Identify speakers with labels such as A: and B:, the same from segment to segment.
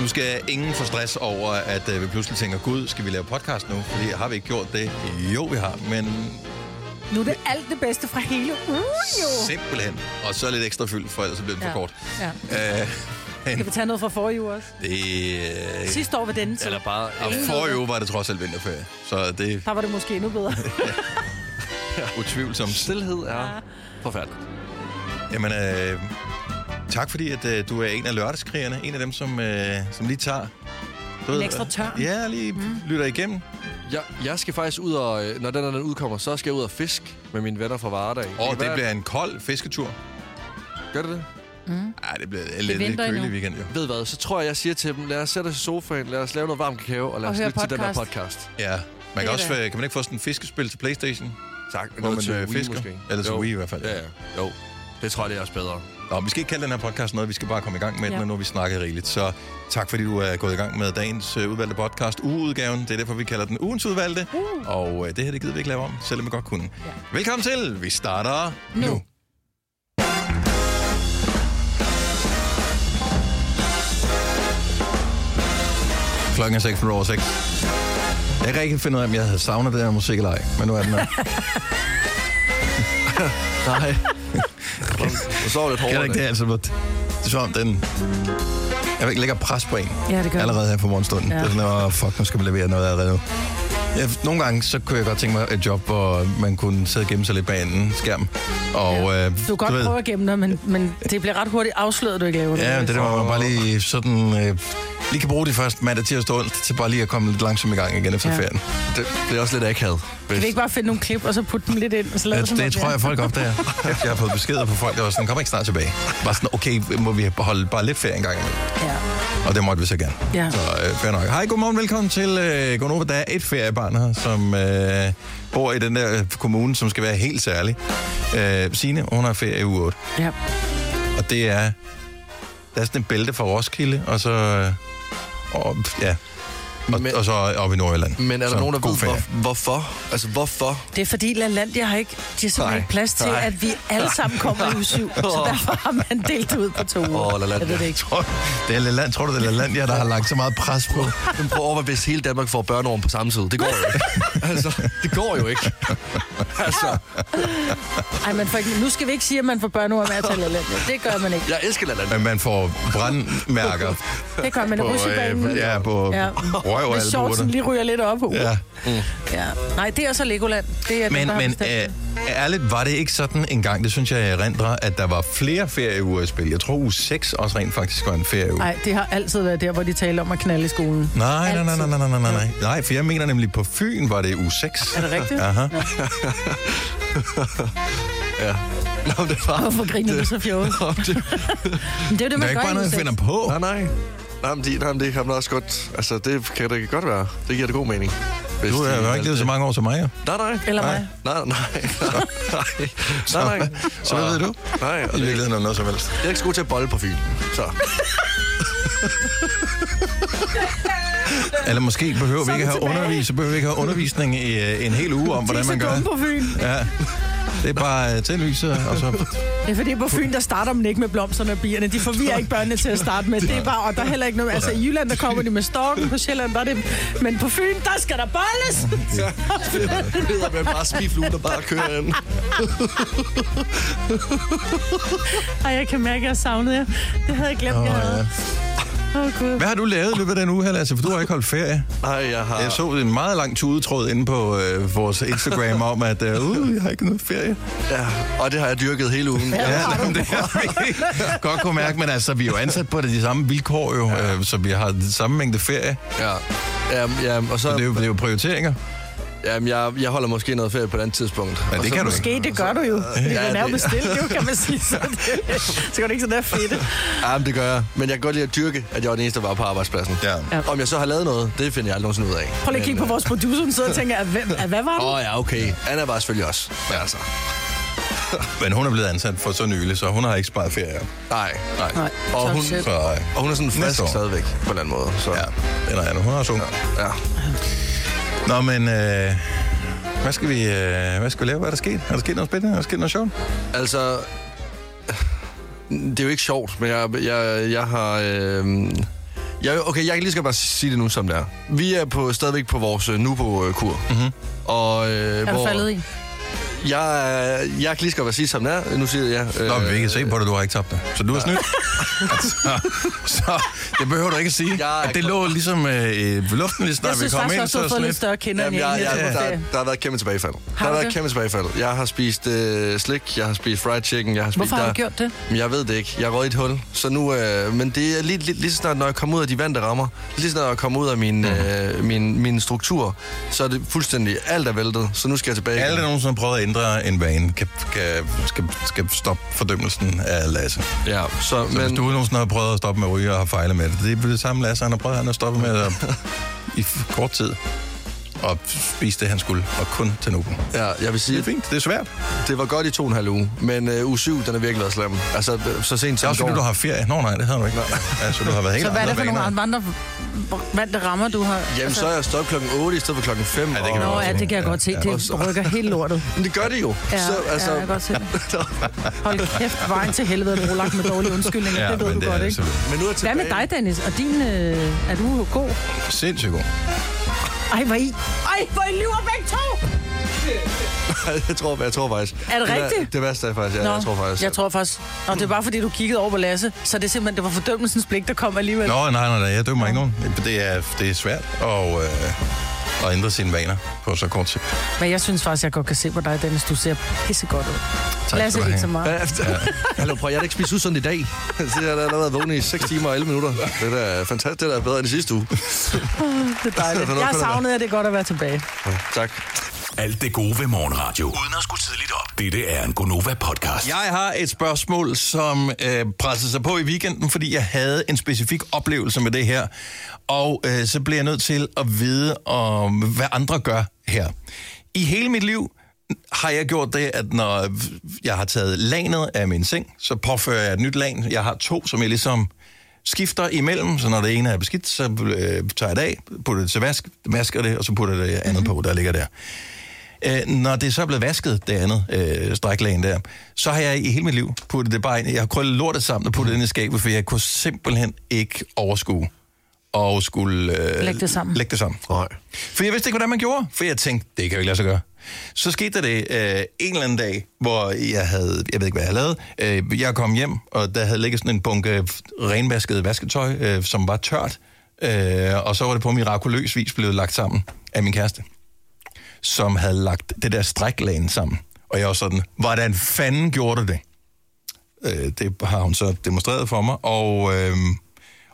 A: Nu skal ingen få stress over, at øh, vi pludselig tænker, gud, skal vi lave podcast nu? Fordi har vi ikke gjort det? Jo, vi har, men
B: Nu er det alt det bedste fra hele ugen, jo.
A: simpelthen. Og så lidt ekstra fyld, for ellers så bliver den for kort.
B: Ja.
A: Øh,
B: Kan vi tage noget fra forrige uge også?
A: det, øh,
B: Sidste år ved denne tid,
C: Eller bare...
A: og forrige uge var det trods alt vinterferie, så det er
B: der var det måske endnu bedre.
A: utvivlsomt.
C: Stilhed er forfærdeligt.
A: Jamen, øh, tak fordi, at øh, du er en af lørdagskrigerne. En af dem, som, øh, som lige tager... Du øh,
B: En ekstra tørn.
A: Ja, lige mm. lytter igennem.
C: Jeg, jeg skal faktisk ud og... øh, Når den, her, den udkommer, så skal jeg ud og fisk med mine venner fra Vardag.
A: Og det bliver en kold fisketur.
C: Gør det det?
A: Nej, det bliver lidt, lidt
D: venter
A: kølig
D: endnu.
A: weekend, jo.
C: Ved I hvad, så tror jeg, jeg siger til dem, lad os sætte os i sofaen, lad os lave noget varm kakao, og lad
D: Og
C: os
D: høre
C: lytte til den her
D: podcast.
C: podcast.
A: Ja. Man kan,
D: er
A: også,
D: det.
A: øh, kan man ikke få sådan en fiskespil til Playstation?
C: Tak.
A: Hvor man øh, fisker? Eller til Wii i hvert fald.
C: Ja, ja. Jo. Det tror jeg, det er også bedre.
A: Nå, vi skal ikke kalde den her podcast noget, vi skal bare komme i gang med den,
D: Ja.
A: og nu har vi snakket rigeligt. Så tak fordi du er gået i gang med dagens øh, udvalgte podcast, ugeudgaven. Det er derfor, vi kalder den ugens udvalgte. Uh. Og øh, det her, det gider vi ikke lave om, selvom vi godt kunne. Ja. Velkommen til. Vi starter nu. nu. Klokken er 6 over 6. Jeg kan ikke finde ud af, om jeg havde savnet det her musik eller ej, men nu er den her.
C: Nej. Og så var det
A: Kan
C: hårdt.
A: ikke det, altså? hvor- Det er som om den... Jeg vil ikke lægge pres på en.
B: Ja, det gør
A: Allerede her på morgenstunden. Ja.
B: Ja.
A: Det er sådan, åh, fuck, nu skal man levere noget allerede nu. Ja, nogle gange, så kunne jeg godt tænke mig et job, hvor man kunne sidde og gemme sig lidt bag en skærm. Og, ja. øh,
B: Du kan godt prøve at gemme dig, men, men det bliver ret hurtigt afsløret, at du ikke laver det.
A: Ja, men det der, hvor man bare lige sådan... Øh, lige kan bruge det først mandag, tirsdag og onsdag, til bare lige at komme lidt langsomt i gang igen efter ja.
B: Ja.
A: ferien.
C: Det bliver også lidt akavet.
B: Kan vi ikke bare finde nogle klip, og så putte dem lidt ind? Og så lade
A: Det,
B: som om,
A: det tror
B: er-
A: jeg, folk opdager. Kæft, Jeg har fået beskeder på folk, der var sådan, kom ikke snart tilbage. Bare sådan, okay, må vi holde bare lidt ferie en gang imellem?
B: Ja.
A: Og det måtte vi så gerne.
B: Ja.
A: Så øh, fair nok. Hej, godmorgen, velkommen til øh, Gonova. Der er et feriebarn her, som øh, bor i den der øh, kommune, som skal være helt særlig. Øh, Signe, hun har ferie i uge 8.
B: ja.
A: Og det er... Der er sådan en bælte fra Roskilde, og så... Øh, og, ja. Og,
C: Men-
A: og så op i Nordjylland.
C: Men er der
A: så,
C: nogen, der
A: god
C: ved,
A: ferie.
C: hvor, hvorfor? Altså, hvorfor?
B: Det er fordi LaLandia har ikke, de har
C: Nej.
B: simpelthen ikke plads til,
C: Nej.
B: at vi alle sammen kommer i uge 7. Så derfor har man delt det ud på to uger.
C: Åh, LaLandia.
B: Jeg ved det ikke.
A: Tror, det er Laland, tror du, det er Lalandia, der har lagt så meget pres på?
C: Men prøv at overveje, hvis hele Danmark får børneorm på samme tid. Det går jo ikke. altså, det går jo ikke. altså,
B: Ej, man får ikke, nu skal vi ikke sige, at man får børneord med at tage LaLandia. Det gør man ikke.
C: jeg elsker Laland.
A: Men man får brandmærker
B: Det gør man.
A: på,
B: Rutsjebanen.
A: øh, ja, på ja.
B: Ja.
A: røv og
B: Hvis shortsen
A: albuerne.
B: lige ryger lidt op. Uh. Ja.
A: Ja.
B: ja. Nej, det er så Legoland. Det er
A: Men,
B: det, der har
A: men
B: bestemt
A: øh,
B: det.
A: ærligt, var det ikke sådan engang, det synes jeg, jeg erindrer, at der var flere ferieuger i spil. Jeg tror, uge 6 også rent faktisk var en ferieuge.
B: Nej, det har altid været der, hvor de taler om at knalde i skolen.
A: Nej, nej, nej, nej, nej, nej, nej, nej. Nej, for jeg mener nemlig, på Fyn var det uge 6.
B: Er det rigtigt?
A: Aha.
C: Nå, det var...
B: Hvorfor griner du så fjollet? Men det er jo det,
A: Det er
B: man
A: ikke bare
B: gør i
A: noget, jeg
B: udsigt.
A: finder på.
C: Nej, nej. Nej, men, de, nej, men det kan man også godt... Altså, det kan det godt være. Det giver det god mening. Hvis
A: Du
C: de-
A: har jo ikke levet så mange år som mig, jo.
C: Nej, nej.
B: Eller mig.
C: Nej, nej, nej, nej, nej, nej.
A: Så hvad ved du?
C: Nej, og
A: I
C: det,
A: virkeligheden er noget som helst.
C: jeg er ikke så god til at bolle på Fyn. Så.
A: Eller måske behøver vi
B: Så er
A: ikke
B: vi
A: have
B: tilbage.
A: undervis, så behøver vi ikke have undervisning i øh, en hel uge om, hvordan man
B: De
A: gør.
B: er så dumme på Fyn.
A: Ja. Det er bare øh, tænd lyset, og så
B: Ja, fordi på Fyn, der starter man ikke med blomsterne og bierne. De forvirrer ikke børnene til at starte med. Det er bare, og der er heller ikke noget... Altså, i Jylland, der kommer de med storken. På Sjælland, der er det... Men på Fyn, der skal der bolles!
C: Det hedder med bare spiflue, der bare kører ind.
B: Ej, jeg kan mærke, at jeg savnede jer. Det havde jeg glemt, jeg havde. Åh, oh, Gud.
A: Hvad har du lavet i løbet af den uge her, Lasse? For du har ikke holdt ferie.
C: Nej, jeg har...
A: Jeg så en meget lang tudetråd inde på øh, vores Instagram om, at øh, uh, jeg har ikke noget ferie.
C: Ja, og det har jeg dyrket hele ugen.
A: Ja,
C: Ja.
A: jamen, det har vi ikke. godt kunne mærke, men altså, vi er jo ansat på det, de samme vilkår jo, øh, så vi har den samme mængde ferie.
C: Ja. Ja, ja, og så...
A: Det er jo, det er jo prioriteringer.
C: Jamen, jeg, jeg holder måske noget ferie på et andet tidspunkt.
A: Ja,
C: Og
A: det
C: så
A: kan du ikke.
B: Måske, det gør du jo. Fordi
C: Ja,
B: ja, den er jo
C: det-
B: bestilt, jo, kan man sige. Så, det, så kan du ikke sådan der fedt.
C: Ja, men det gør jeg. Men jeg kan godt lide at dyrke, at jeg var den eneste, der var på arbejdspladsen.
A: Ja.
B: Ja.
C: Om jeg så har lavet noget, det finder jeg aldrig nogensinde ud af.
B: Prøv lige at kigge på
C: Men,
B: vores producer, hun sidder og tænker, at hvem, at hvad var
C: øh,
B: det?
C: Åh oh, ja, okay. Anna var selvfølgelig også. Men altså,
A: Men hun er blevet ansat for så nylig, så hun har ikke sparet ferie. op.
C: nej.
A: Nej.
B: Nej,
C: Og
B: så
C: hun-
B: shit.
A: Så øh,
C: Og hun er sådan
A: Næste år.
C: frisk stadigvæk, på en eller anden måde. Så,
A: ja, den er andet. Hun er også ung.
C: ja.
A: Nå, men øh, hvad, skal vi, øh, hvad skal vi lave? Hvad er der sket? Er der sket noget spændende? Er der sket noget sjovt?
C: Altså, det er jo ikke sjovt, men jeg, jeg, jeg har... Øh, Ja, okay, jeg kan lige skal bare sige det nu, som det er. Vi er på, stadigvæk på vores øh, Nubo-kur.
A: Mhm.
C: Mm-hmm. Og, øh,
B: Er du faldet i?
C: Jeg, er- jeg kan lige skal bare sige, som det er. Nu siger jeg... Øh,
A: Nå, men vi kan se på det, du har ikke tabt det. Så du er snydt. altså, så det behøver du ikke at sige.
C: Jeg er
A: At det
C: klar.
A: lå ligesom øh, i luften lige
B: Jeg
A: snart vi
B: synes
A: kom
B: faktisk
A: ind.
B: også, du
A: Så
B: har fået
A: sådan
B: lidt
A: lidt,
B: større kinder, end
C: Jamen,
B: jeg
C: jeg,
B: egentlig
C: jeg,
B: havde
C: der,
B: troet.
C: der har været kæmpe tilbagefald. der
B: du
C: har været
B: det?
C: kæmpe tilbagefald. Jeg har spist øh, slik, jeg har spist fried chicken, jeg har spist...
B: Hvorfor har
C: der...
B: du gjort det?
C: Jamen, Jeg ved det ikke. Jeg er i et hul. Så nu, øh, men det er lige, lige, lige så snart, når jeg kommer ud af de vand, der rammer, lige så snart jeg kommer ud af
A: Mhm.
C: min, øh, min, min struktur, så er det fuldstændig alt er væltet. Så nu skal jeg tilbage.
A: alle, der
C: igen.
A: nogensinde har prøvet at ændre en vane, kan, kan, skal, skal stoppe fordømmelsen af Lasse.
C: Ja, så,
A: Så Men... hvis
C: men,
A: du nogensinde har prøvet at stoppe med at ryge og har fejlet med det, det er det samme Lasse, han har prøvet han har stoppet med at, i f- kort tid og spise det, han skulle, og kun til nu. Det
C: ja, jeg vil sige,
A: er fint, det er svært. Det
C: det var godt i to og en halv uge, men øh, uge 7, den er virkelig været slem. Altså, så sent
A: er
C: som i
A: også fordi, du
C: går.
A: har ferie. Nå nej, det havde du ikke. Altså, du har været helt
B: Så hvad er det for
A: andre
B: nogle
A: vaner.
B: andre andre vand, der rammer, du har? Altså-
C: Jamen, så er jeg stået klokken 8 i stedet for klokken 5.
A: Ja, det kan vi
B: Nå
A: også
B: ja, det kan jeg godt se.
A: Ja,
B: Det rykker helt lortet.
C: Men det gør det jo.
B: Ja,
C: så, altså,
B: ja, jeg kan godt se det. Hold kæft, vejen til helvede er brolagt med dårlige undskyldninger.
A: Ja,
B: det ved
A: men
B: du
A: det
B: godt,
A: er altså-
B: ikke?
A: selvfølgelig
C: men nu er jeg
B: Hvad med
C: tilbage.
B: dig, Dennis? Og din... Øh, er du god?
A: sindssygt god.
B: Ej, hvor I... Ej, hvor I lyver begge to!
C: jeg, tror, jeg tror faktisk.
B: Er det
C: vær-
B: rigtigt?
C: Det værste er faktisk, ja, jeg tror faktisk.
B: Jeg tror faktisk. Nå, det er bare fordi, du kiggede over på Lasse, så det er simpelthen, det var fordømmelsens blik, der kom alligevel.
A: Nå, nej, nej, nej, jeg dømmer ikke nogen. Det er, det er svært at, øh, at ændre sine vaner på så kort tid.
B: Men jeg synes faktisk, jeg godt kan se på dig, Dennis. Du ser pissegodt ud.
A: skal
B: Lasse
A: du
B: ikke
A: have.
B: så meget.
C: Bagefter. Ja. Hallo, prøv, jeg har da ikke spist usundt i dag. Så jeg har da allerede vågnet i 6 timer og 11 minutter. Det er da fantastisk. Det er da bedre end i sidste uge.
B: Det er dejligt.
C: Hvad er det,
B: Jeg
C: hvad er det?
B: savnede, at det er godt at være tilbage.
C: Tak.
D: Alt det gode ved morgenradio. Uden at skulle tidligt op. Dette er en Gonova-podcast.
A: Jeg har et spørgsmål, som øh, pressede sig på i weekenden, fordi jeg havde en specifik oplevelse med det her. Og øh, så blev jeg nødt til at vide, om hvad andre gør her. I hele mit liv har jeg gjort det, at når jeg har taget lanet af min seng, så påfører jeg et nyt lan. Jeg har to, som jeg ligesom skifter imellem, så når det ene er beskidt, så øh, tager jeg det af, putter det til vask, vasker det, og så putter det andet på, der ligger der. Øh, når det så er blevet vasket, det andet øh, stræklagen der, så har jeg i hele mit liv puttet det bare ind. Jeg har krøllet lortet sammen og puttet det ind i skabet, for jeg kunne simpelthen ikke overskue og skulle... Øh,
B: Lægge det sammen.
A: Lægge det sammen.
C: Nej.
A: For jeg vidste ikke, hvordan man gjorde, for jeg tænkte, det kan jeg ikke lade sig gøre. Så skete der det øh, en eller anden dag, hvor jeg havde, jeg ved ikke, hvad jeg lavede. Øh, jeg kom hjem, og der havde ligget sådan en bunke renvasket vasketøj, øh, som var tørt. Øh, og så var det på mirakuløs vis blevet lagt sammen af min kæreste som havde lagt det der stræklagen sammen. Og jeg var sådan, hvordan fanden gjorde du det? Øh, det har hun så demonstreret for mig, og, øh,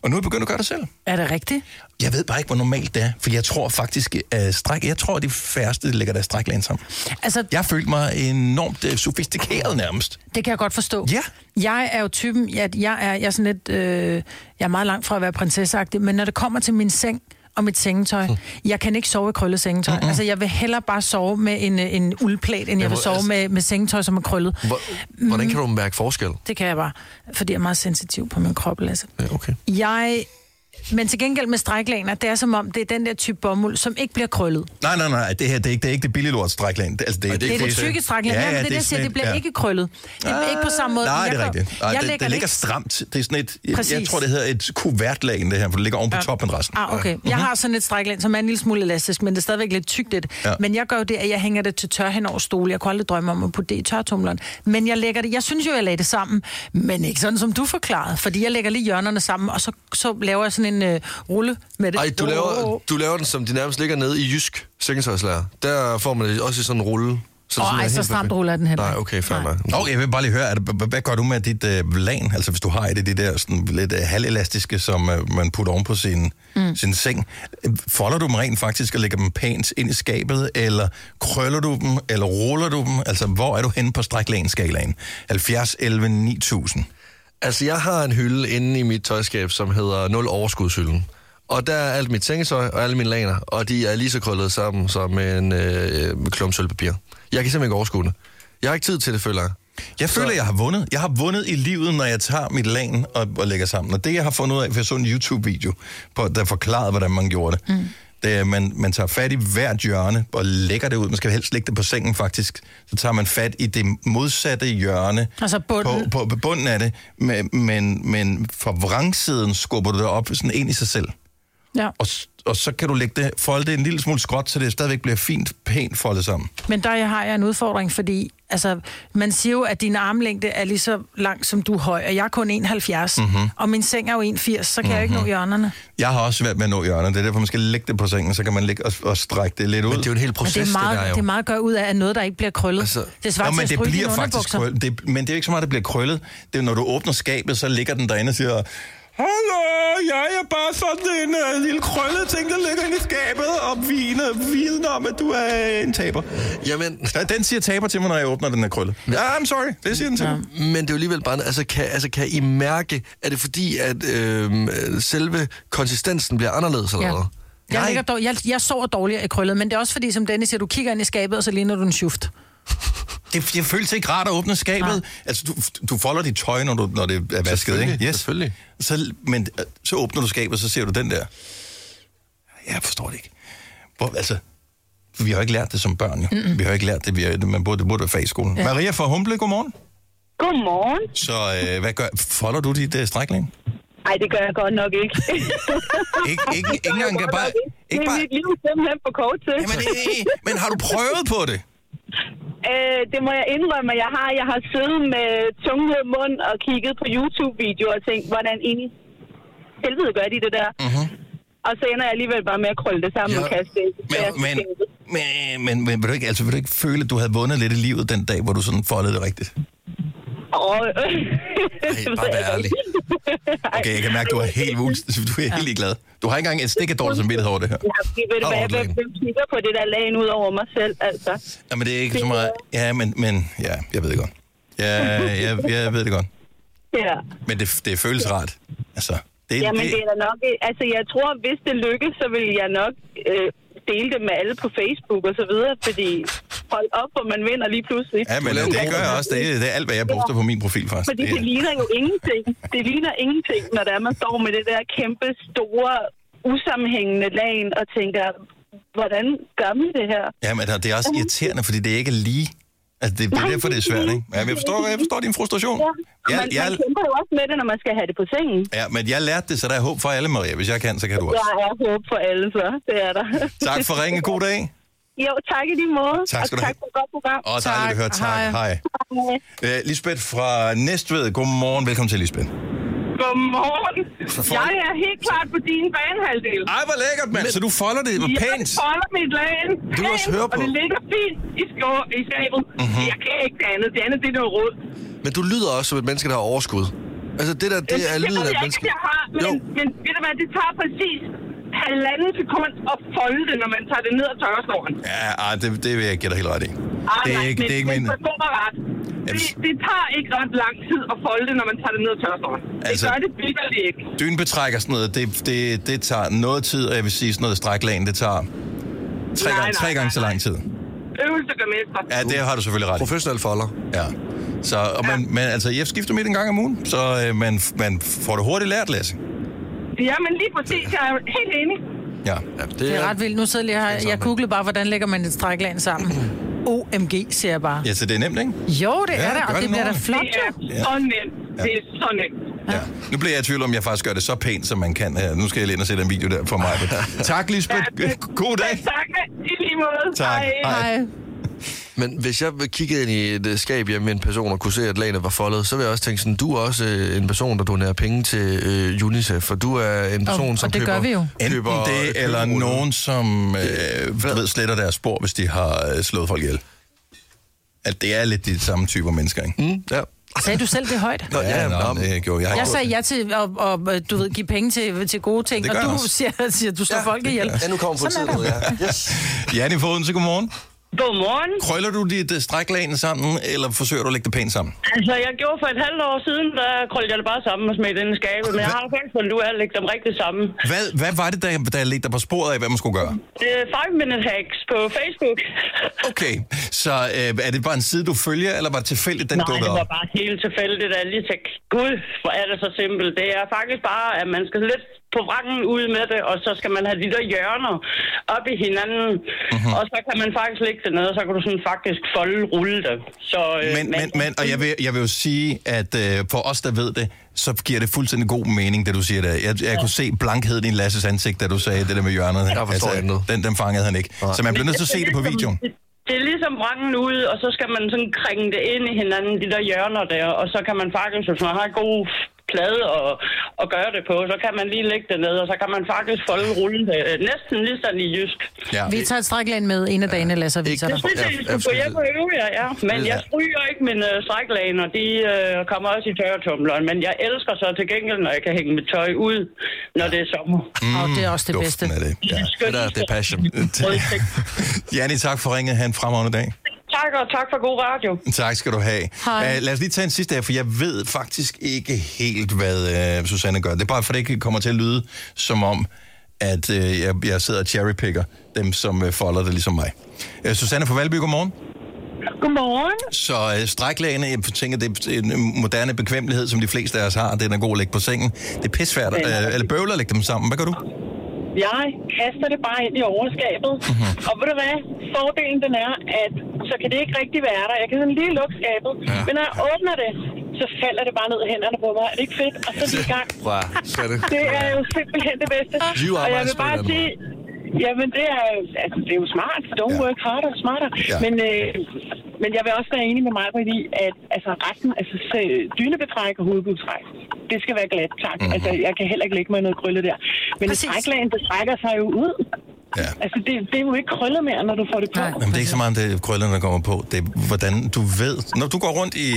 A: og nu er jeg begyndt at gøre det selv.
B: Er det rigtigt?
A: Jeg ved bare ikke, hvor normalt det er, for jeg tror faktisk, at stræk, jeg tror, at de færreste lægger deres stræklagen sammen.
B: Altså,
A: Jeg følte mig enormt øh, sofistikeret nærmest.
B: Det kan jeg godt forstå.
A: Ja.
B: Jeg er jo typen, at jeg er, jeg er sådan lidt, øh, jeg er meget langt fra at være prinsesseagtig, men når det kommer til min seng og mit sengetøj, jeg kan ikke sove i krøllet sengetøj. Mm-hmm. Altså, jeg vil hellere bare sove med en, øh, en uldplæt, end jeg vil
C: hvor-
B: sove
C: altså-
B: med, med sengetøj, som er krøllet.
C: Hvor,
B: Mm.
C: hvordan kan du mærke forskel?
B: Det kan jeg bare, fordi jeg er meget sensitiv på min krop, Lasse.
C: Ja, okay.
B: Jeg... Men til gengæld med stræklaner, det er som om, det er den der type bomuld, som ikke bliver krøllet.
A: Nej, nej, nej, det her det er ikke det, er ikke det billige lort stræklagen. Det, altså, det,
B: Det er det tykke stræklæn. Ja, ja, det, er det, jeg siger,
A: sådan
B: det
A: et-
B: bliver ja. ikke krøllet. Det er ikke på samme måde.
A: Nej,
B: Jeg
A: det er
B: gør-
A: rigtigt. Nej,
B: jeg
A: det,
B: lægger
A: det ligger
B: ikke-
A: stramt. Det er sådan et, jeg, jeg
B: Præcis.
A: tror, det hedder et kuvertlag, det her, for det ligger oven på toppen af resten.
B: Ah, okay.
C: Mhm.
B: Jeg har sådan et stræklæn, som er en lille smule elastisk, men det er stadigvæk lidt tykt lidt.
A: Ja.
B: Ja. Men jeg gør jo det, at jeg hænger det til tør hen over stol. Jeg kunne aldrig drømme om at putte det i tørtumleren. Men jeg lægger det, jeg synes jo, jeg lagde det sammen, men ikke sådan, som du forklarede. Fordi jeg lægger lige hjørnerne sammen, og så, så laver jeg sådan en øh, rulle med det.
C: Ej, du laver, du laver den, som de nærmest ligger nede i Jysk Sengetøjslærer. Der får man det også i sådan en rulle. Så
B: Åh,
C: sådan
B: ej,
C: er
B: så
C: helt
B: stramt
C: perfekt.
B: ruller den heller
C: Nej,
B: ikke.
C: okay, fair
B: Nej.
C: nok.
A: Og jeg vil bare lige høre, er det, h- h- hvad gør du med dit øh, lan? Altså hvis du har et af de der sådan, lidt øh, halvelastiske, som øh, man putter oven på sin, mm. sin seng. Øh, Folder du dem rent faktisk og lægger dem pænt ind i skabet, eller krøller du dem, eller ruller du dem? Altså hvor er du henne på stræklænsskalaen? 70, 11, 9000.
C: Altså, jeg har en hylde inde i mit tøjskab, som hedder 0 overskudshylden. Og der er alt mit sengetøj og alle mine laner, og de er lige så krøllet sammen som en øh, med klump sølvpapir. Jeg kan simpelthen ikke overskue det. Jeg har ikke tid til det, føler jeg.
A: Jeg føler, jeg har vundet. Jeg har vundet i livet, når jeg tager mit lan og, og lægger sammen. Og det, jeg har fundet ud af, for jeg så en YouTube-video, på, der forklarede, hvordan man gjorde det. Mm. Det er, man, man tager fat i hvert hjørne og lægger det ud. Man skal helst lægge det på sengen, faktisk. Så tager man fat i det modsatte hjørne.
B: Altså bunden.
A: På, på, på bunden af det. Men, men, men fra vrangsiden skubber du det op sådan ind i sig selv.
B: Ja.
A: Og, s- og så kan du lægge det, folde det en lille smule skråt, så det stadigvæk bliver fint, pænt foldet sammen.
B: Men der har jeg en udfordring, fordi altså, man siger jo, at din armlængde er lige så lang, som du er høj, og jeg er kun 1,70,
C: Mhm.
B: mm-hmm. og min seng er jo 1,80, så kan mm-hmm. jeg jo ikke nå hjørnerne.
A: Jeg har også svært med at nå hjørnet. Det er derfor, man skal lægge det på sengen, så kan man ligge og, og strække det lidt ud.
C: Men det er jo en hel
B: Men
C: proces,
B: det er meget,
C: der
B: det,
C: jo.
B: det er meget at gøre ud af, at noget, der ikke bliver krøllet. Altså,
C: Altså-
B: det
A: Nå,
B: svarer
A: men
B: til
A: det
B: at stryge
A: bliver
B: dine
A: faktisk
B: underbukser.
A: krøllet. Det, men det er jo ikke så meget, der bliver krøllet. Det er, når du åbner skabet, så ligger den derinde og siger, Hallo, jeg er bare sådan en uh, lille krøllet ting, der ligger inde i skabet og viner, viden om, at du er en taber.
C: Jamen,
A: Ja, Den siger taber til mig, når jeg åbner den her krølle. Ja, I'm sorry. Det siger den til mig.
C: men det er jo alligevel bare... Altså kan, altså, kan I mærke, er det fordi, at øh, selve konsistensen bliver anderledes eller
B: Ja.
C: hvad?
B: Jeg,
A: Nej.
B: ligger dår, jeg, jeg sover dårligere i krøllet, men det er også fordi, som Dennis siger, du kigger ind i skabet, og så ligner du en schuft.
A: Det, det føles ikke rart at åbne skabet.
B: Nej.
A: Altså, du, du folder dit tøj, når, du, når det er vasket,
C: Selvfølgelig,
A: ikke?
C: selvfølgelig.
A: Så, men øh, så åbner du skabet, så ser du den der. Jeg forstår det ikke. Hvor, altså, vi har jo ikke lært det som børn, jo. Mm-mm. Vi har jo ikke lært det. Vi har, man burde, det burde være fag i skolen. Ja. Maria fra Humble, godmorgen.
E: Godmorgen.
A: Så øh, hvad gør, folder du dit øh, strækling?
E: Ej, det gør jeg godt nok ikke.
A: Ikke, ikke, ikke
E: Det gør jeg
A: engang kan
E: godt
A: bare...
E: nok
A: Ikke
E: det er
A: bare
E: mit liv simpelthen for kort til.
A: jamen, øh, men har du prøvet på det?
E: Øh, det må jeg indrømme, at jeg har. Jeg har siddet med tunge mod mund og kigget på YouTube-videoer og tænkt, hvordan egentlig helvede gør de det der?
A: Mhm.
E: Uh-huh. Og så ender jeg alligevel bare med at krølle det sammen
C: Ja,
E: ja. og kaste det. i
A: Men,
E: kassen.
A: men, men, men, men vil, du ikke, altså, vil du ikke føle, at du havde vundet lidt i livet den dag, hvor du sådan foldede det rigtigt?
E: Og,
C: Ej, bare vær ærlig.
A: Okay, jeg kan mærke, du er helt, vul- du er helt ligeglad. Du har ikke engang et stik af dårlig samvittighed over det her.
E: Ja, fordi ved du
C: Og
E: hvad, hvem,
C: overlægen.
E: hvem kigger på det der lagen ud over mig selv, altså?
A: Ja, men det er ikke så meget... Ja, men, men ja, jeg ved det godt. Ja, jeg, jeg ved det godt.
E: Ja.
A: Men det, det føles rart. Altså, det,
E: Jamen, det
A: det,
E: er da nok... Altså, jeg tror, hvis det lykkes, så vil jeg nok øh, dele det med alle på Facebook og så videre, fordi hold op, hvor man vinder lige pludselig.
A: ja, men det gør jeg også. Det, er- det er alt, hvad jeg poster på min profil, faktisk.
E: Fordi det
A: Det,
E: ligner jo ingenting. Det ligner ingenting, når der er, man står med det der kæmpe, store, usammenhængende lagen og tænker, hvordan gør man det her?
A: ja, men det er også irriterende, fordi det er ikke lige... Altså, det, det er
E: Nej,
A: derfor, det er svært, ikke? Ja, men jeg forstår, jeg forstår din frustration.
E: Ja. Og
A: Jeg,
E: man, man
A: jeg,
E: kæmper jo også med det, når man skal have det på sengen.
A: ja, men jeg lærte det, så der er håb for alle, Maria. Hvis jeg kan, så kan du
E: Der
A: også.
E: er håb for alle, så. Det er der.
A: Tak for ringen. God dag.
E: Jo, tak i lige måde.
A: Tak skal
E: og
A: du
E: tak
A: have.
E: for et godt program.
A: Og dejligt at høre.
B: Tak.
A: Tak. Hej.
E: Hej.
A: Øh, Lisbeth fra Næstved. Godmorgen. Velkommen til, Lisbeth.
E: Godmorgen.
A: for-
E: Jeg er helt klart på din banehalvdel.
A: Ej, hvor lækkert, mand. Så du folder det Ah, pænt.
E: Jeg folder mit lagen.
A: Du vil også
E: pænt,
A: høre på. Mhm.
E: Og det ligger fint i, sko- i skabet. Mm-hmm. Jeg kan ikke det andet. Det andet, det er noget råd.
C: Men du lyder også som et menneske, der har overskud. Altså det der, det er
E: det
C: lyden
E: ved
C: af et
E: jeg ikke,
C: menneske.
E: at jeg har, men,
C: Jo,
E: men ved du hvad, det tager præcis halvanden sekund at folde det, når man tager det ned og tørrer skoven.
A: Ja, ej, det, det vil jeg give dig helt ret i.
E: Ej,
A: Det er
E: nej,
A: ikke,
E: men
A: det er ikke
E: men
A: min...
E: forstå mig ret. Det,
A: Jamen-
E: det tager ikke ret lang tid at folde det, når man tager det ned og tørrer skoven.
A: Altså-
E: det gør det vildt ikke.
A: Dynbetræk og sådan noget, det, det, det tager noget tid, og jeg vil sige sådan noget stræklagen, det tager tre,
E: Nej,
A: gange,
E: nej,
A: tre gange så
E: nej,
A: lang tid.
E: Øvelse gør mester.
A: Ja, det har du selvfølgelig ret i.
C: professionel folder.
A: Ja. Så, og man, man, altså, jeg skifter midt en gang om ugen, så øh, man, man får det hurtigt lært, Lasse.
E: Ja, men lige præcis, jeg er helt enig.
A: Ja.
C: Ja, det,
B: Det er ret vildt. Nu sidder jeg lige her. Jeg googlede bare, hvordan lægger man et strækland sammen. OMG, siger jeg bare.
A: ja, så det er nemt, ikke?
B: Jo, det
A: Ja,
B: er det,
A: gør
B: og
A: det
B: det bliver da
A: nu.
B: flot,
E: Det er
B: jo.
E: så nemt. Det er så nemt.
A: Ja. Nu bliver jeg i tvivl om, jeg faktisk gør det så pænt, som man kan. Ja, nu skal jeg lige ind og sætte en video der for mig. tak, Lisbeth.
E: Ja, det-
A: øh, God dag.
E: Men tak, i lige måde.
A: Tak. Hej.
B: Hej.
C: Men hvis jeg kiggede ind i et øh, skab hjemme med en person og kunne se, at lagene var foldet, så ville jeg også tænke sådan, du er også øh, en person, der donerer penge til øh, UNICEF, for du er en person,
B: og
C: som
B: det
C: køber,
B: gør vi jo.
A: Enten
C: køber,
A: det,
C: køber
A: eller
C: ruller.
A: nogen, som øh, du ved, sletter deres spor, hvis de har øh, slået folk ihjel. At det er lidt de samme typer mennesker, ikke?
C: Mm, ja.
B: Sagde du selv det højt?
C: Nå, ja,
A: nå,
C: nå,
A: det gjorde jeg.
B: Jeg sagde ja til at, og, øh, du ved, give penge til, til gode ting,
A: Det gør
B: og
A: jeg
B: du
A: også.
B: siger, siger, du slår ja, folk ihjel.
C: ja, nu kommer
B: Sådan
C: politiet
B: er
C: ned,
B: det.
C: ja. Yes.
A: Janne Foden, så godmorgen.
E: Godmorgen.
A: Krøller du dit øh, stræklagen sammen, eller forsøger du at lægge det pænt sammen?
E: Altså, jeg gjorde for et halvt år siden, der krøllede jeg det bare sammen og smed det ind i skabet. Men jeg har faktisk fundet ud af at lægge dem rigtig sammen.
A: Hvad, hvad var det, der, der ledte dig på sporet af, hvad man skulle gøre?
E: Det er 5 Minute Hacks på Facebook.
A: Okay, så øh, er det bare en side, du følger, eller var det tilfældigt, den
E: Nej,
A: dukkede
E: det
A: op?
E: var bare helt tilfældigt, at jeg lige tænkte, gud, hvor er det så simpelt. Det er faktisk bare, at man skal lidt på vrangen ud med det, og så skal man have de der hjørner op i hinanden.
A: Mhm.
E: Mm-hmm. Og så kan man faktisk lægge det ned, og så kan du sådan faktisk folde rulle det. Så, øh,
A: Men, men, men, og jeg vil, jeg vil jo sige, at øh, for os, der ved det, så giver det fuldstændig god mening, det du siger der. Jeg, jeg ja. kunne se blankheden i Lasses ansigt, da du sagde det der med hjørnet. Altså,
C: Jeg forstår intet.
A: den, den fangede han ikke.
C: Nej.
A: Så man bliver nødt til at se det på
E: ligesom-
A: videoen.
E: Det, det er ligesom vrangen ud, og så skal man sådan kringe det ind i hinanden, de der hjørner der, og så kan man faktisk, hvis man har en god plade og, og gøre det på, så kan man lige lægge det ned, og så kan man faktisk folde rullen det, øh, næsten ligesom i jysk.
A: Ja.
B: Vi tager et strækland med en af dagene, Lasse, og viser
C: Ikke-
B: dig.
E: Det
C: Ja,
E: er
C: ja,
E: jeg skulle hjem og øve jer, ja. Men jeg stryger ikke mine øh, stræklaner, de øh, kommer også i tørretumleren, men jeg elsker så til gengæld, når jeg kan hænge mit tøj ud, når det er sommer.
B: Og det er også det bedste.
A: Duften af det.
E: Det
A: Ja.
E: er
C: Det
E: skønt.
C: der, det er passion.
A: Janni, tak for ringet. Ha' en fremragende dag.
E: Tak, og tak for god radio.
A: Tak skal du have.
B: Hej.
A: Uh, lad os lige tage en sidste her, for jeg ved faktisk ikke helt, hvad uh, Susanne gør. Det er bare, for det ikke kommer til at lyde som om, at uh, jeg, jeg sidder og cherrypicker dem, som uh, folder det ligesom mig. Uh, Susanne fra Valby, godmorgen.
E: Godmorgen.
A: Så øh, stræklagene, jeg tænker, det er en moderne bekvemmelighed, som de fleste af os har. Den er god at lægge på sengen. Det er pissvært,
E: Ja.
A: øh, eller bøvler at lægge dem sammen. Hvad gør du?
E: Jeg kaster det bare ind i overskabet. Og ved du hvad? Fordelen den er, at så kan det ikke rigtig være der. Jeg kan sådan lige lukke skabet. Ja. Men når jeg åbner det, så falder det bare ned i hænderne på mig. Er det ikke fedt? Og så er vi i gang.
C: Wow, så er det.
E: Det er jo simpelthen det bedste.
B: Ah.
C: You are
E: Og jeg
C: my
E: vil bare
C: spirit
E: sige, jamen det er, jo- altså, det er jo smart, for don't
A: Ja.
E: work harder, smarter.
A: Ja.
E: Men, øh, men jeg vil også være enig med mig, i, at altså, resten, altså se- dynebetræk og hovedbudtræk, det skal være glat, tak.
C: Mhm.
E: Mm-hmm. Altså, jeg kan heller ikke lægge mig i noget krøllet der. Men
B: Præcis.
E: træklagen, det trækker sig jo ud.
A: Ja.
E: Altså, det, det er jo ikke krøllet mere, når du får det på.
B: Nej.
A: Jamen, det er ikke så meget, om det er krøllerne, der kommer på. Det er, hvordan du ved... Når du går rundt i...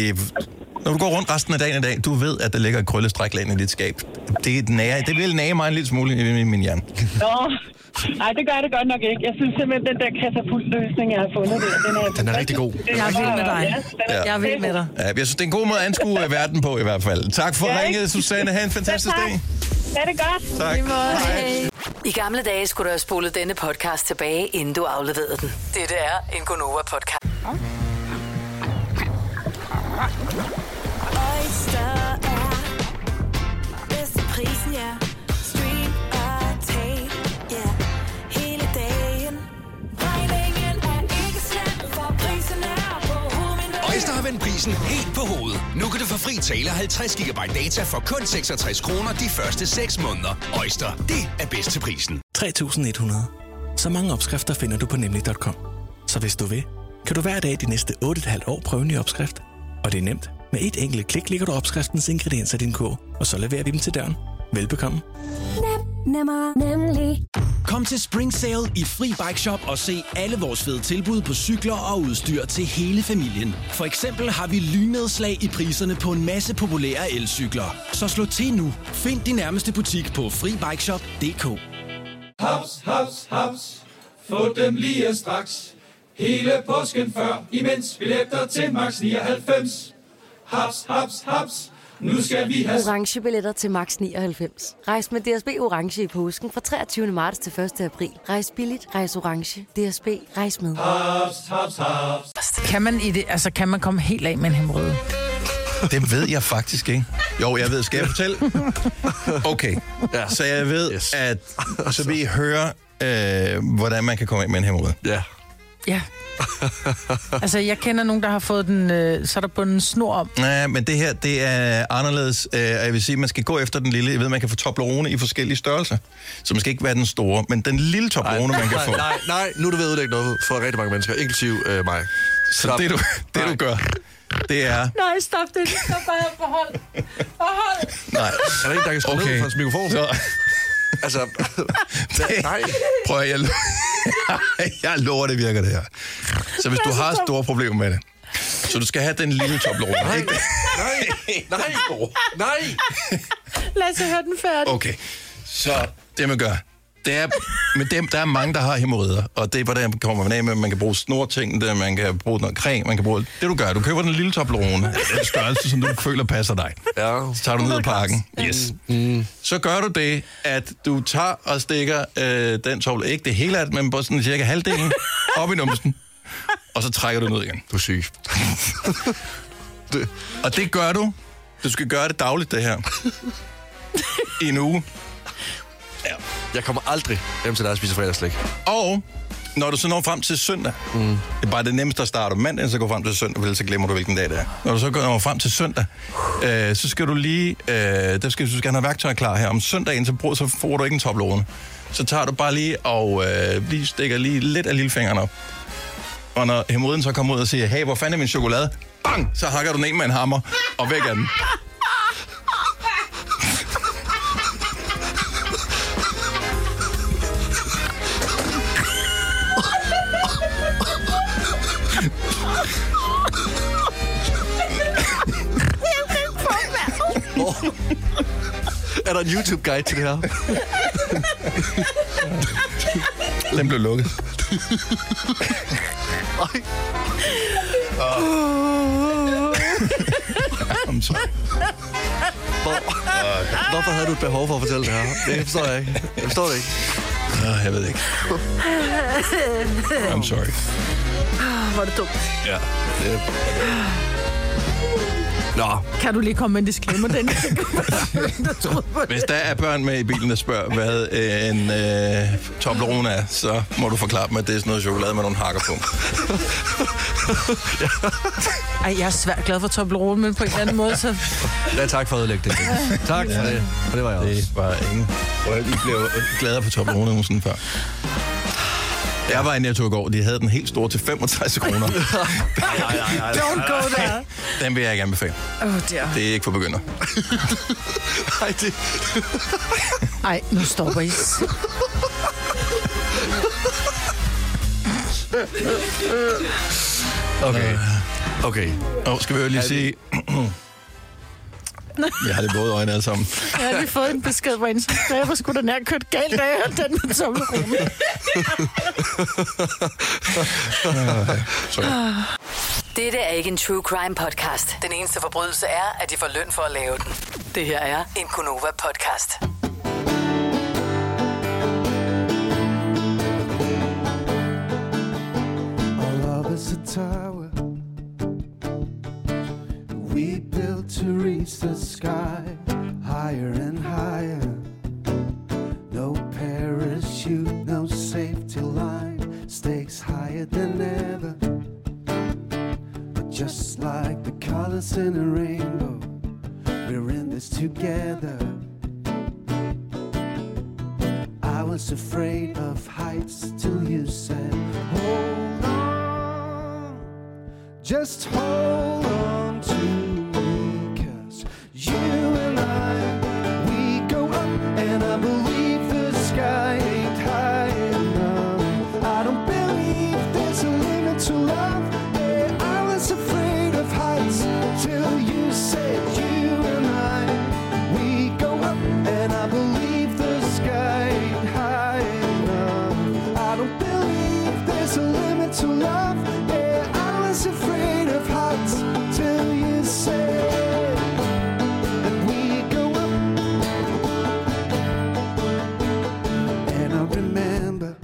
A: Når du går rundt resten af dagen i dag, du ved, at der ligger et krøllestræklag i dit skab. Det, nærer, det vil nære mig en lille smule i min, min hjerne.
E: Nå, nej, det gør det godt nok ikke. Jeg synes simpelthen, den der katapultløsning, jeg har fundet der, den er...
C: Den er rigtig god.
E: Den
B: Jeg er vild med dig.
E: Ja, den er
B: Jeg er vild med dig.
A: Ja, jeg synes, det er en god måde at anskue øh, verden på i hvert fald. Tak for
E: Ja,
A: ringet,
E: ikke?
A: Susanne. Ha' en fantastisk
E: Ja, tak.
A: dag.
E: Ja, det er godt.
A: Tak.
F: I gamle dage skulle du have spolet denne podcast tilbage, inden du afleverede den. Dette er en Gonova-podcast.
G: Oyster er bedst til prisen, ja. Stream og tag, ja. Hele dagen. Regningen er ikke slem, for prisen er på hovedet.
H: Øjster har vendt prisen helt på hovedet. Nu kan du få fri tale og 50 GB data for kun 66 kroner de første 6 måneder. Øjster, det er bedst til prisen.
I: 3100. Så mange opskrifter finder du på nemlig.com. Så hvis du vil, kan du hver dag de næste 8,5 år prøve en ny opskrift. Og det er nemt. Med et enkelt klik ligger du opskriftens ingredienser i din kog, og så leverer vi dem til døren. Velbekomme.
G: Nem, nemmer, nemlig.
J: Kom til Spring Sale i Fri Bike Shop og se alle vores fede tilbud på cykler og udstyr til hele familien. For eksempel har vi lynedslag i priserne på en masse populære elcykler. Så slå til nu. Find din nærmeste butik på FriBikeShop.dk
K: Haps, haps, haps. Få dem lige straks. Hele påsken før, imens billetter til max 99. Haps, haps, haps. Nu skal vi have
G: Orange billetter til max 99. Rejs med DSB Orange i påsken fra 23. marts til 1. april. Rejs billigt, rejs orange. DSB, rejs med.
K: haps, haps, haps.
B: Kan man, i det, altså, kan man komme helt af med en hemorrhoide?
A: Det ved jeg faktisk ikke. Jo, jeg ved. Skal jeg fortælle? Okay.
C: Ja.
A: Så jeg ved, yes.
C: Yes.
A: at så vi
E: Altså.
A: hører, øh, hvordan man kan komme ind med en hemorrhoide.
C: Ja.
B: Ja. altså, jeg kender nogen, der har fået den, øh, så er der bundet en snor om.
A: Nej, men det her, det er anderledes. Øh, og jeg vil sige, at man skal gå efter den lille. Jeg ved, man kan få Toblerone i forskellige størrelser. Så man skal ikke være den store, men den lille Toblerone, man kan
C: nej,
A: få.
C: nej, nej, nu er du ved at ødelægge noget for rigtig mange mennesker, inklusive øh, mig.
A: Så det du, det, du
C: Nej.
A: gør, det er...
B: Nej, stop det. Stop bare forhold. Forhold.
A: Nej.
C: Er der en, der kan skrue okay. ned for hans mikrofon? Så.
A: Så,
C: Altså, nej.
A: Prøv at, jeg, jeg lover, det virker det her. Så hvis du har store problemer med det, så du skal have den lille Toblerone, ikke?
C: Nej, nej, nej.
B: Lad os høre den færdig.
A: Okay, så det man gør, det er, med dem, der er mange, der har hemorrider, og det er, hvordan kommer man af med, man kan bruge snortingene, man kan bruge noget creme, man kan bruge... Det du gør, du køber den lille Toblerone, af den størrelse, som du føler passer dig.
C: Ja.
A: Så tager du ned i parken. Yes. Så gør du det, at du tager og stikker øh, den Toblerone, ikke det hele af det, men bare sådan cirka halvdelen op i numsen, og så trækker du den ud igen.
C: Du er syg. det,
A: Og det gør du. Du skal gøre det dagligt, det her. I en uge. Ja.
C: Jeg kommer aldrig hjem til dig og spiser fredagsslik.
A: Og når du så når frem til søndag, mm. det er bare det nemmeste at starte om mandagen, så går frem til søndag, vel, så glemmer du, hvilken dag det er. Når du så går frem til søndag, øh, så skal du lige, øh, der skal, du skal have værktøjet klar her. Om søndagen, så, brug, så får du ikke en toplone. Så tager du bare lige og øh, lige stikker lige lidt af lillefingeren op. Og når hemorrhoiden så kommer ud og siger, hey, hvor fanden er min chokolade? Bang! Så hakker du den en med en hammer, og væk af den.
C: Er der en YouTube-guide til det her?
A: Den blev lukket. Jamen, så.
C: Hvor, hvorfor havde du et behov for at fortælle det her? Det forstår jeg ikke. Jeg forstår det ikke.
A: Ah, jeg ved ikke. I'm sorry.
B: Ah, Hvor er det dumt.
A: Ja. Det...
C: Nå,
B: Kan du lige komme med en disclaimer, den? Jeg troede på
A: Hvis der er børn med i bilen, der spørger, hvad øh, en øh, Toblerone er, så må du forklare dem, at det er sådan noget chokolade med nogle hakker på.
B: Ej, jeg er svært glad for Toblerone, men på en eller anden måde, så...
C: ja, tak for at ødelægge det. Tak for det. Og det var jeg også.
A: Det var ingen. Og vi blev gladere på Toblerone end sådan før. Jeg var i Netto i går, de havde den helt store til 65 kroner.
B: Don't go there.
A: Den vil jeg ikke anbefale.
B: Åh, oh, der.
A: Det er ikke for begynder.
C: Ej, det...
B: Ej, nu stopper I.
C: Okay. Okay.
A: Og skal vi jo lige sige... Jeg har lidt våde øjne alle sammen.
B: Jeg har lige fået en besked, hvor en som sagde, hvor skulle den her kørt galt af, og den med Toblerone.
A: Sorry.
F: Dette er ikke en true crime podcast. Den eneste forbrydelse er, at de får løn for at lave den. Det her er en Gunova podcast.
L: Our love is a tower we built to reach the sky, higher and higher. No parachute, no safety line, stakes higher than ever. But just like the colors in a rainbow, we're in this together. I was afraid of heights till you said, Hold on. Just hold on to me, cause you and I, we go up, and I believe the sky ain't high enough. I don't believe there's a limit to love. Yeah, I was afraid of heights till you said you and I, we go up, and I believe the sky ain't high enough. I don't believe there's a limit to love. Yeah, I was afraid of heights till you said that we go up. And I remember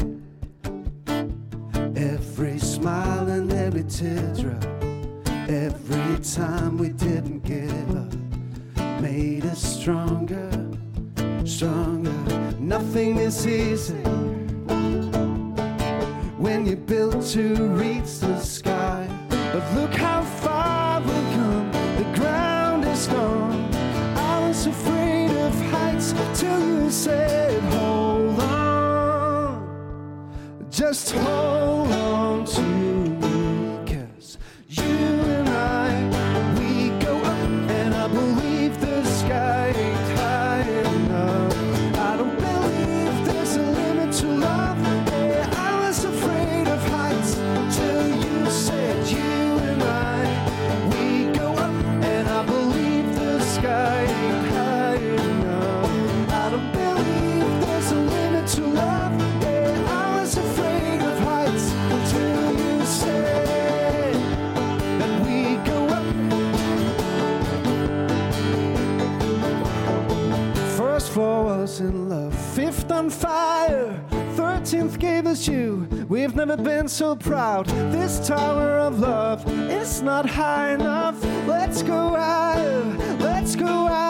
L: every smile and every teardrop, every time we didn't give up, made us stronger, stronger. Nothing is easy when you're built to reach the sky. But look how far we've come, the ground is gone. I was afraid of heights till you said, Hold on, just hold on to me, cause you and I, we go up, and I believe the sky ain't high enough. I don't believe there's a limit to love. Yeah, I was afraid of heights till you said you and I, we go up, and I believe the sky ain't high enough. I don't believe there's a limit to love. Yeah, I was afraid of heights till you said that we go up. First floor was in love, fifth on fire, thirteenth gave us you. We've never been so proud. This tower of love is not high enough. Let's go higher, let's go higher.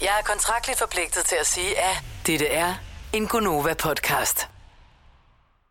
F: Jeg er kontraktligt forpligtet til at sige, at dette er en Gunova-podcast.